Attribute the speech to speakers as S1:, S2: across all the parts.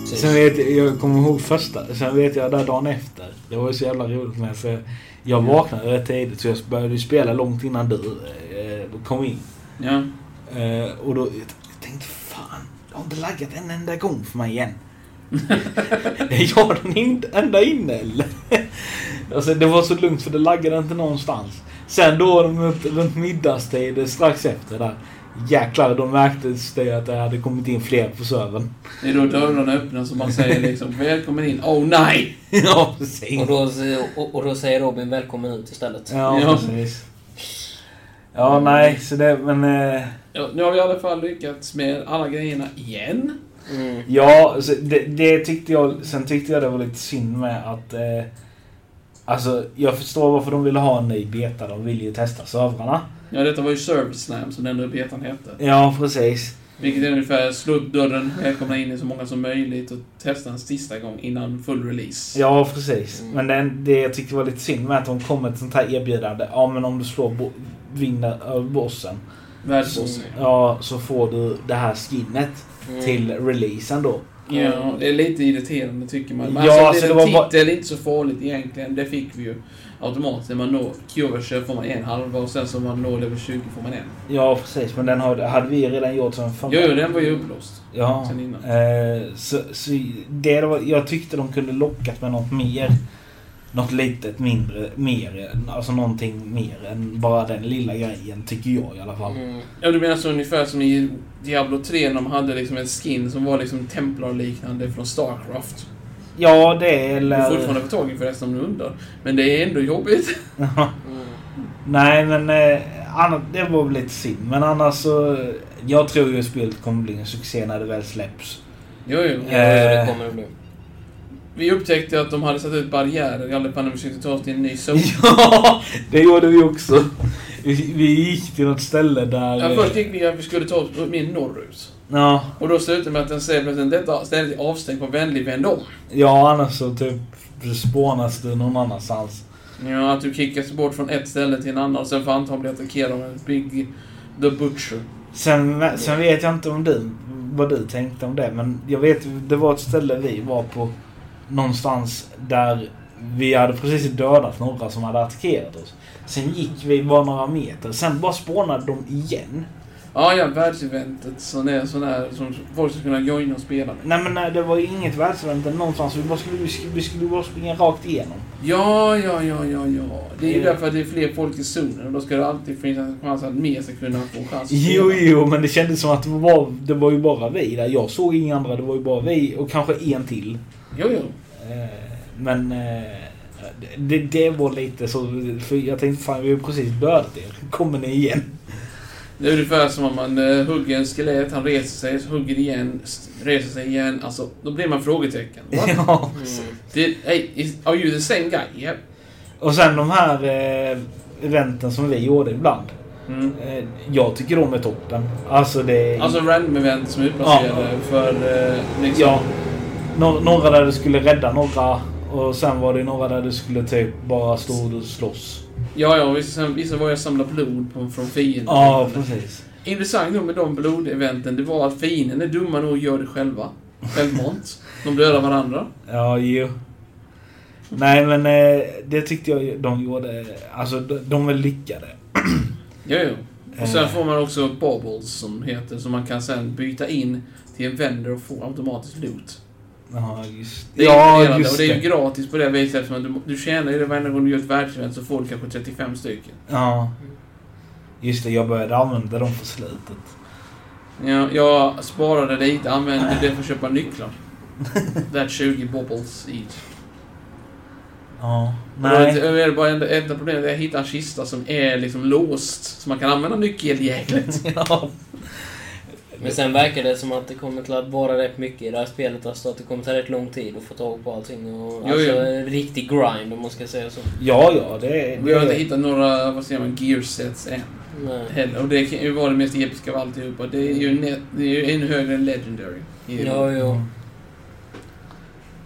S1: precis.
S2: Sen vet jag, jag kommer ihåg första, sen vet jag där dagen efter. Det var ju så jävla roligt med så jag vaknade rätt tidigt så jag började ju spela långt innan du eh, kom in.
S1: Ja.
S2: Eh, och då jag t- jag tänkte fan, jag har inte laggat en enda gång för mig igen. är jag den in, enda inne eller? alltså det var så lugnt för det laggade inte någonstans. Sen då runt, runt middagstid eh, strax efter där. Jäklar, då märktes det att det hade kommit in fler på servern.
S1: Det är då dörrarna öppnas och man säger liksom Välkommen in. Oh nej!
S2: ja, precis.
S3: Och då, och, och då säger Robin välkommen ut istället.
S2: Ja,
S1: Ja.
S2: precis. Ja, nej, så det, men... eh,
S1: Ja, nu har vi i alla fall lyckats med alla grejerna igen.
S3: Mm.
S2: Ja, så det, det tyckte jag... Sen tyckte jag det var lite synd med att... Eh, alltså, jag förstår varför de ville ha en ny beta. De ville ju testa servrarna.
S1: Ja, detta var ju Service Slam som den där betan hette.
S2: Ja, precis.
S1: Vilket är ungefär slå upp dörren, välkomna in i så många som möjligt och testa en sista gång innan full release.
S2: Ja, precis.
S3: Mm.
S2: Men det, det jag tyckte var lite synd med att de kom med ett sånt här erbjudande. Ja, men om du slår bo- vinner eh, bossen.
S1: Världsbossen.
S2: Ja, så får du det här skinnet
S3: Mm.
S2: till releasen då.
S1: Ja, det är lite irriterande tycker man. Men
S2: Ja,
S1: ja,
S2: alltså,
S1: alltså,
S2: det
S1: det
S2: var
S1: titel
S2: bara-
S1: är inte så farligt egentligen. Det fick vi ju automatiskt. När man når Cure får man en halva och sen så om man når level 20 får man en.
S2: Ja, precis. Men den hade, hade vi redan gjort som förra.
S1: Jo, jo, den var ju upplåst.
S2: Ja.
S1: Sen innan.
S2: Eh, så, så det var, jag tyckte de kunde lockat med något mer. Något litet mindre, mer. Alltså någonting mer än bara den lilla grejen, tycker jag i alla fall.
S3: Mm.
S1: Ja, du menar så ungefär som i Diablo 3 när de hade liksom en skin som var liksom templarliknande från Starcraft.
S2: Ja, det är-
S1: Du
S2: eller...
S1: får fortfarande få tag i förresten om du undrar. Men det är ändå jobbigt.
S3: Mm.
S2: Nej, men eh, annat, det var väl lite synd. Men annars så... Jag tror ju spelet kommer bli en succé när det väl släpps.
S1: Jo, jo.
S3: Ja,
S2: Eh,
S3: det kommer det bli.
S1: Vi upptäckte att de hade satt ut barriärer i alla fall när vi försökte ta oss till en ny zon.
S2: Ja, det gjorde vi också. Vi, vi gick till något ställe där...
S1: Ja, först gick vi att vi skulle ta oss mer norrut.
S2: ja,
S1: Och då slutade det med att den säger plötsligt detta stället är avstängt på vänlig vänd om.
S2: ja, annars så typ spånas du någon annanstans.
S1: Ja, att du kickas bort från ett ställe till en annan och sen får antagligen bli attackerad av en Big The Butcher.
S2: Sen, sen vet jag inte om du, vad du tänkte om det, men jag vet det var ett ställe vi var på någonstans där vi hade precis dödat några som hade attackerat oss. Sen gick vi bara några meter, sen bara spånade de igen.
S1: Ja, ja, världseventet som är sån här som folk ska kunna joina och spela med.
S2: Nej men nej, det var ju inget världsevent eller någonstans, vi, bara skulle, vi, skulle, vi skulle bara springa rakt igenom.
S1: Ja, ja, ja, ja, ja. Det är ju
S2: Mm.
S1: därför att det är fler folk i zonen och då ska det alltid finnas en chans att mer ska kunna få en chans att
S2: Jo, jo, men det kändes som att det var, det var ju bara vi där. Jag såg inga andra, det var ju bara vi och kanske en till.
S1: jo, jo.
S2: Eh, Men eh, det, det var lite så, för jag tänkte fan vi har ju precis dödat er. Kommer ni igen?
S1: Det är ungefär som om man eh, hugger en skelett, han reser sig, så hugger igen, s- reser sig igen. Alltså, då blir man frågetecken. Va?
S2: Ja.
S3: Mm.
S1: Did, hey, is, are you the same guy? Yep.
S2: Och sen de här eh, eventen som vi gjorde ibland. Eh, jag tycker de är toppen. Alltså det...
S1: Alltså random event som är utplacerade för... Eh, liksom,
S2: ja. Nå- några där du skulle rädda några. Och sen var det några där du skulle typ bara stå och slåss.
S1: ja, ja, vissa, vissa var jag samla blod på, från fienden.
S2: Ja, precis.
S1: Intressant nog med de blodeventen, det var att fienden är dumma nog att göra det själva. Självmant. De dödar varandra.
S2: Ja, jo. Nej, men eh, det tyckte jag ju- de gjorde. Alltså, de, de är lyckade.
S1: Jo, jo. Och sen
S2: Eh.
S1: får man också bubbles som heter, som man kan sen byta in till en vendor och få automatiskt loot.
S2: Ja, just
S1: Det är
S2: Ja,
S1: imponerande,
S2: just
S1: och det är ju
S2: det.
S1: gratis på det viset eftersom du, du tjänar ju det varje gång du gör ett världsevent så får du kanske 35 stycken.
S2: Ja. Just det, jag började använda dem på slutet.
S1: Ja, jag sparade lite, använde det för att köpa nycklar. That 20 bubbles each.
S2: Ja.
S1: Nej.
S2: Nej.
S1: Det är bara enda, enda problemet är att jag hittar en kista som är liksom låst, så man kan använda nyckeljäklet.
S2: Ja.
S3: Men sen verkar det som att det kommer till att vara rätt mycket i det här spelet. Alltså att det kommer ta rätt lång tid att få tag på allting. Och,
S1: Jo,
S3: alltså
S1: jo.
S3: en riktig grind om man ska säga så.
S2: Ja, ja, det är...
S1: Vi har inte
S2: Det,
S1: hittat några, vad säger man, gearsets än.
S3: Nej.
S1: Heller. Och det kan ju vara det mest episka av alltihopa. Det är ju, net, det är ju ännu högre än Legendary.
S3: Ja, ja.
S2: Mm.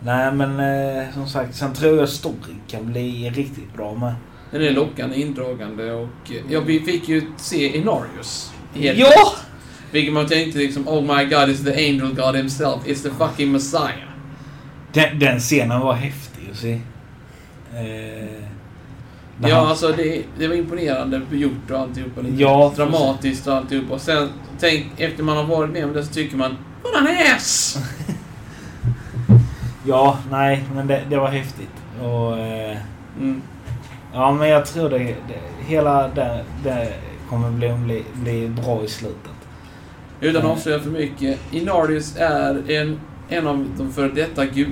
S2: nej, men eh, som sagt, sen tror jag storyn kan bli riktigt bra med.
S1: Den är lockande, indragande och... eh, Ja, vi fick ju se Inarius. Helt
S2: Ja!
S1: Vilket man tänkte liksom, oh my god, it's the angel god himself, it's the fucking messiah.
S2: Den, den scenen var häftig att se. Eh, när
S1: Ja,
S2: han-
S1: alltså det, det var imponerande gjort och alltihopa. Lite
S2: Ja,
S1: dramatiskt och alltihopa. Och sen, tänk, efter man har varit med om det så tycker man What an ass!
S2: ja, nej, men det, det var häftigt. Och, eh,
S1: Mm.
S2: ja, men jag tror det, det hela det, det kommer bli, bli, bli bra i slutet.
S1: Utan att avslöja för mycket. Inardis är en, en av de före detta gu,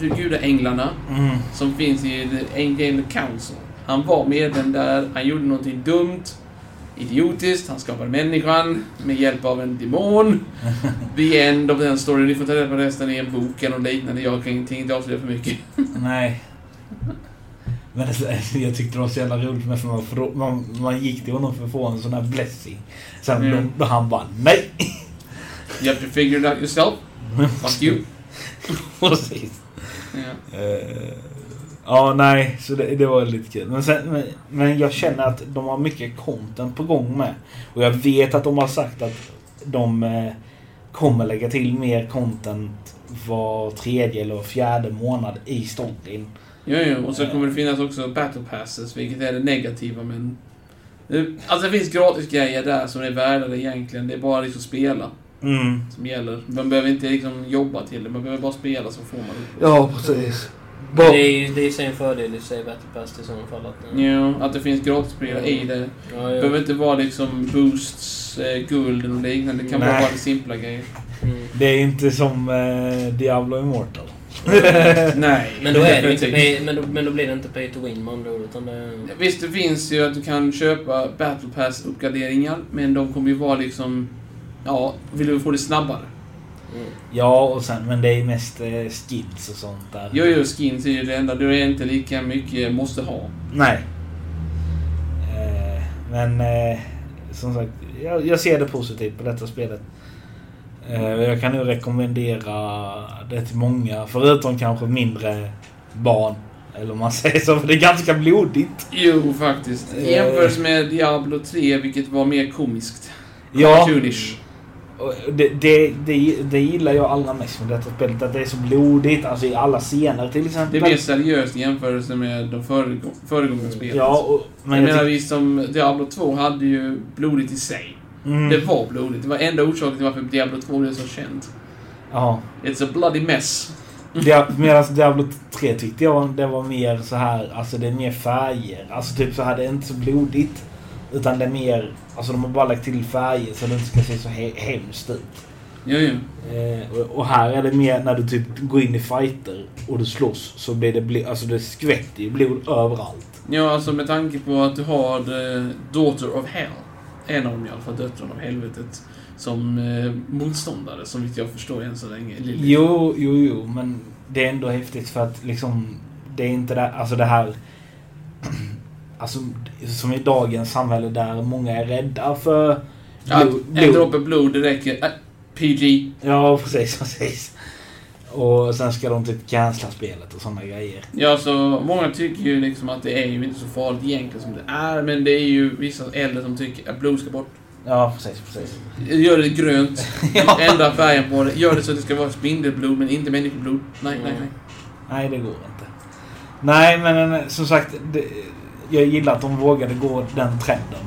S1: de gudaänglarna
S2: Mm.
S1: som finns i The Angel Council. Han var medlem där, han gjorde någonting dumt, idiotiskt, han skapade människan med hjälp av en demon. The end of den storyn, ni får ta reda på resten i en bok eller något liknande. Jag kan ingenting, inte avslöja för mycket.
S2: Nej. Men det, jag tyckte det var så jävla roligt med för man, frå- man, man gick till honom för att få en sån här blessing. Sen
S1: Mm.
S2: då, då han bara nej.
S1: You have to figure it out yourself. Fuck you.
S2: Precis.
S1: Ja.
S2: Eh, ja, nej. Så det, det var lite kul. Men, sen, men, men jag känner att de har mycket content på gång med. Och jag vet att de har sagt att de eh, kommer lägga till mer content var tredje eller var fjärde månad i storyn.
S1: Jo, jo, och så kommer det finnas också battle passes, vilket är det negativa, men... Alltså det finns gratis grejer där som är värda det egentligen. Det är bara liksom spela
S2: Mm.
S1: som gäller. Man behöver inte liksom jobba till det, man behöver bara spela så får man det.
S2: Ja, precis.
S3: Det
S2: Bara-
S3: är ju det är ju sig en fördel i sig, Battle Pass i sådana fall. Att,
S1: Jo, att det finns gratisspel i det.
S3: ja,
S1: Det
S3: ja.
S1: behöver inte vara liksom boosts, eh, guld och liknande. Det kan bara
S2: Nej.
S1: vara det simpla grejer.
S3: Mm.
S2: Det är inte som eh, Diablo Immortal.
S1: Nej,
S3: Men då, är det ju inte
S1: definitivt.
S3: pay, men, då, men då blir det inte pay to win med andra ord. Utan det,
S1: Visst, det finns ju att du kan köpa Battle Pass-uppgraderingar, men de kommer ju vara liksom... Ja, vill du få det snabbare?
S3: mm.
S2: ja, och sen, men det är mest eh, skins och sånt där.
S1: Jo, jo, skins är ju det enda. Du är inte lika mycket måste ha.
S2: Nej. Eh, men eh, som sagt, jag, jag ser det positivt på detta spelet. Eh, jag kan nu rekommendera det till många, förutom kanske mindre barn. Eller om man säger så, för det är ganska blodigt.
S1: Jo, faktiskt.
S2: Eh.
S1: Jämfört med Diablo 3, vilket var mer komiskt.
S2: Ja.
S1: Cartoonish.
S2: Och Det, det, det, det gillar jag allra mest med detta spelet. Att det är så blodigt, alltså i alla scener till
S1: Det
S2: exempel.
S1: är mer seriöst i jämförelse med de föregå- föregående spelen.
S2: Ja, och, men
S1: jag menar,
S2: tyck-
S1: vi som Diablo 2 hade ju blodigt i sig.
S2: mm,
S1: Det var blodigt. Det var enda orsaken till varför Diablo 2 blev så känt.
S2: Ja.
S1: It's a bloody mess.
S2: Medan Diablo 3 tyckte jag det var mer så här, alltså det är mer färger. Alltså typ så här, det är inte så blodigt. Utan det är mer, alltså de har bara lagt till färger så det inte ska se så he- hemskt ut.
S1: Jo, jo.
S2: Eh, och, och här är det mer när du typ går in i fighter och du slåss så blir det, bli, alltså det skvätter ju blod överallt.
S1: Ja, alltså med tanke på att du har eh, Daughter of Hell, en av dem i alla fall, Döttrarna av Helvetet, som eh, motståndare, som inte jag förstår än så länge. Lilith.
S2: Jo, jo, jo, men det är ändå häftigt för att liksom, det är inte det, alltså det här Alltså, som i dagens samhälle där många är rädda för
S1: Att
S2: blod-
S1: en
S2: blod.
S1: droppe blod, det räcker. Äh, PG.
S2: Ja, precis, precis. Och sen ska de typ cancella spelet och sådana grejer.
S1: Ja, så många tycker ju liksom att det är ju inte så farligt egentligen som det är, men det är ju vissa äldre som tycker att blod ska bort.
S2: Ja, precis, precis.
S1: Gör det grönt,
S2: Ja.
S1: ändra färgen på det, gör det så att det ska vara spindelblod, men inte människoblod. Nej, nej, nej.
S2: Nej, det går inte. Nej, men eh, som sagt. Det, jag gillar att de vågade gå den trenden.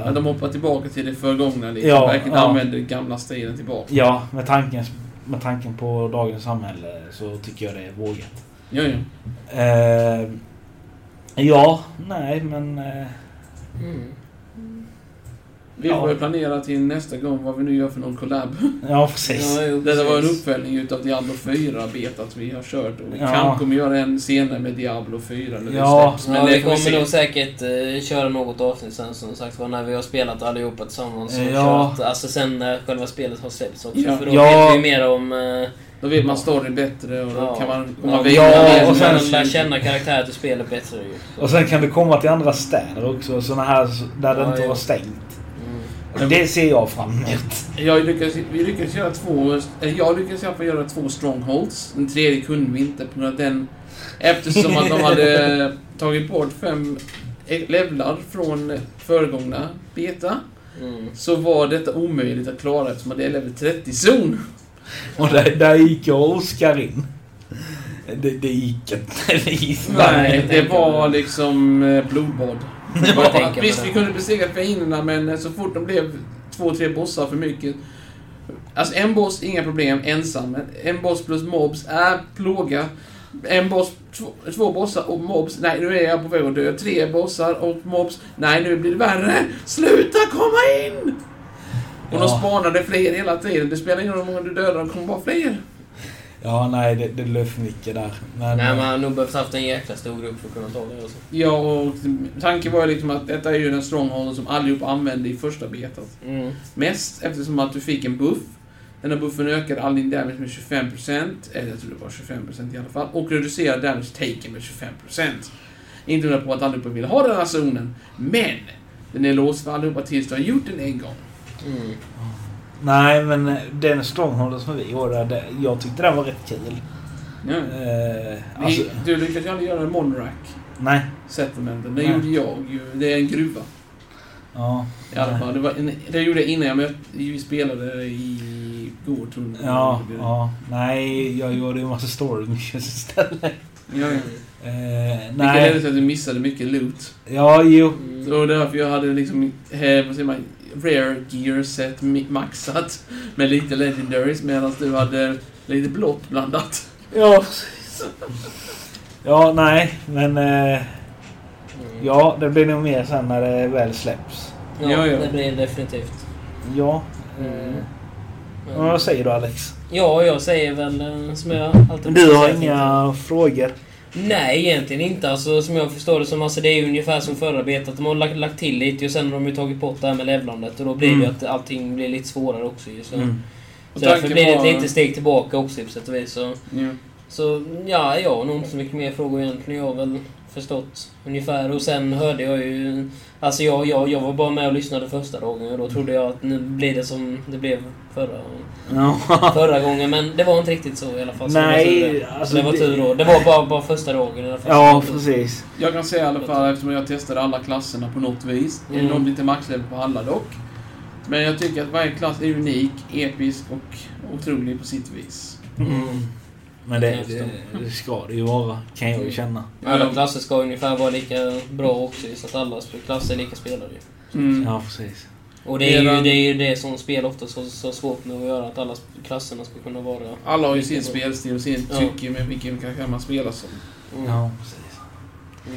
S2: Eh,
S1: Att de hoppar tillbaka till det förgångna, liksom.
S2: Ja,
S1: Verkligen
S2: ja.
S1: använder gamla stilen tillbaka.
S2: Ja, med tanken, med tanken på dagens samhälle så tycker jag det är vågat.
S1: Jo, jo.
S2: Eh, ja, nej, men... Eh,
S3: Mm.
S1: Vi
S2: Ja.
S1: får väl planera till nästa gång vad vi nu gör för någon collab.
S2: ja, precis.
S3: Ja, jo,
S1: Detta var en
S3: precis.
S1: uppföljning utav Diablo 4 betat vi har kört och vi
S2: Ja.
S1: kanske kommer göra en senare med Diablo 4 när
S2: Ja.
S1: det släpps.
S3: Ja,
S1: Men det
S3: vi
S1: får vi
S3: kommer
S1: se.
S3: nog säkert eh, köra något avsnitt sen som sagt var när vi har spelat allihopa tillsammans. Och
S2: Ja.
S3: kört, alltså sen när själva spelet har släppts också.
S1: Ja.
S3: För då
S2: Ja.
S3: vet vi mer om... eh,
S1: Då vet man storyn bättre och då
S3: Ja.
S1: kan man komma
S3: Ja,
S1: vidare.
S2: och
S1: med
S2: sen-
S1: den
S3: man lär
S1: här-
S3: känna karaktärer till spelet bättre ju.
S2: Och sen kan du komma till andra städer också. Såna här s- där det
S3: Ja,
S2: inte
S3: ja.
S2: var stängt.
S3: Mm.
S2: Det ser jag fram emot.
S1: Jag lyckades, vi lyckades göra två... eller Jag lyckades i alla fall göra två strongholds. Den tredje kunde vi inte på grund av den... Eftersom att de hade tagit bort fem eh, levlar från föregångna beta.
S3: Mm.
S1: Så var detta omöjligt att klara eftersom att det är level 30-zon.
S2: Och där, där gick jag och Oskar in. Det, det gick inte. Det gick inte.
S1: Nej, det var liksom eh, blodbad.
S3: Jag bara tänker på
S1: Visst,
S3: det.
S1: vi kunde besegra fienderna, men eh, så fort de blev två, tre bossar för mycket. Alltså en boss, inga problem, ensam. Men En boss plus mobs är plåga. En boss, två, två bossar och mobs. Nej, nu är jag på väg att dö. Tre bossar och mobs. Nej, nu blir det värre. Sluta komma in! Och de
S2: Ja.
S1: spanade fler hela tiden. Det spelar ingen roll hur många du dödar, det kommer bara fler.
S2: Ja, nej, det, det blev för mycket där. Men,
S3: Nej, man har nog behövt haft en jäkla stor grupp för att kunna ta det. Alltså.
S1: Ja, och tanken var ju liksom att detta är ju den strongholden som allihop använde i första betat.
S3: Mm.
S1: Mest eftersom att du fick en buff. Den här buffen ökade all din damage med 25%, eller jag tror det var 25% i alla fall, och reducerade damage taken med 25%. Inte undra på att allihopa ville ha den här zonen, men den är låst för allihopa tills du har gjort den en gång.
S3: Mm.
S2: nej, men eh, den strongholden som vi gjorde, det, jag tyckte den var rätt kul.
S1: Ja.
S2: Eh,
S1: Vi-
S2: alltså,
S1: Du lyckades ju aldrig göra en Monrak
S2: nej.
S1: settlementen. Det
S2: Nej.
S1: gjorde jag ju. Det är en gruva
S2: Ja.
S1: i alla
S2: nej.
S1: fall. Det, var en, det gjorde jag innan jag mötte, vi spelade i går tror jag.
S2: Ja, ja. Nej, jag gjorde ju en massa story missions istället.
S1: ja, ja.
S3: Mm.
S2: Eh,
S1: Vilket ledde
S2: nej.
S1: till att du missade mycket loot.
S2: Ja, jo.
S1: Så det var därför jag hade liksom, eh, vad säger man, rare gear set mi- maxat med lite legendaries medan du hade lite blått blandat.
S2: Ja, precis. Ja, nej, men... Eh,
S3: Mm.
S2: ja, det blir nog mer sen när det väl släpps.
S3: Ja,
S1: Ja, ja.
S3: det blir det definitivt.
S2: Ja.
S3: Mm.
S2: Eh,
S3: Men-
S2: men vad säger du, Alex?
S3: Ja, jag säger väl eh, som jag alltid
S2: Du har
S3: säger, tänkte
S2: inga frågor?
S3: jag. Nej, egentligen inte. Alltså, som jag förstår det som, alltså, det är ju ungefär som förra betet. De har lagt, lagt till lite och sen har de ju tagit bort det här med levlandet. Och då blir det
S2: Mm.
S3: ju att allting blir lite svårare också ju. Så,
S2: Mm.
S1: Och
S3: så därför
S1: tanken
S3: blir det ett
S1: var-
S3: litet steg tillbaka också på sätt och vis. Så,
S1: Ja.
S3: så ja, jag har nog inte så mycket mer frågor egentligen. Jag har väl förstått ungefär. Och sen hörde jag ju... Alltså jag, jag, jag var bara med och lyssnade första dagen
S2: Mm.
S3: och då trodde jag att nu blir det som det blev förra
S2: Ja.
S3: förra gången, men det var inte riktigt så i alla fall. Så
S2: Nej,
S3: det var tur det.
S2: alltså
S3: Så det var
S2: det-
S3: tur då. Det var bara, bara första dagen i alla fall.
S2: Ja, precis.
S1: Jag kan säga i alla fall eftersom jag testade alla klasserna på något vis.
S3: Mm.
S1: Mm. Någon lite maxlevel på alla dock. Men jag tycker att varje klass är unik, episk och otrolig på sitt vis.
S3: Mm.
S2: Men det,
S3: Jag förstår.
S2: det, det ska det ju vara, kan jag ju
S3: Mm.
S2: känna.
S3: Alla klasser ska ungefär vara lika bra också, så att alla sp- klasser är lika spelare. ju.
S1: Mm.
S2: Ja, precis.
S3: Och det är, ju,
S1: Medan-
S3: det är ju det som spel ofta så, så svårt med att göra, att alla sp- klasserna ska kunna vara...
S1: Alla har ju sin
S3: Vilken-
S1: spelstil och sin
S3: Ja.
S1: tycke med vilken karaktär man spelar som.
S3: Mm.
S2: Ja, precis.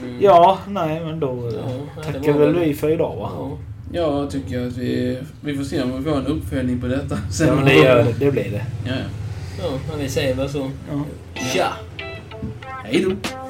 S3: Mm.
S2: Ja, nej, men då eh,
S3: Ja, nej, det
S2: tackar
S3: var
S2: väl
S3: väl-
S2: vi för idag, va?
S3: Ja.
S1: Ja, jag tycker att vi... Vi får se om vi får en uppföljning på detta sen.
S2: Ja, men det, gör, det blir det.
S1: Ja, ja.
S3: ja, men vi säger väl så.
S2: Ja.
S3: Tja!
S1: Hej då!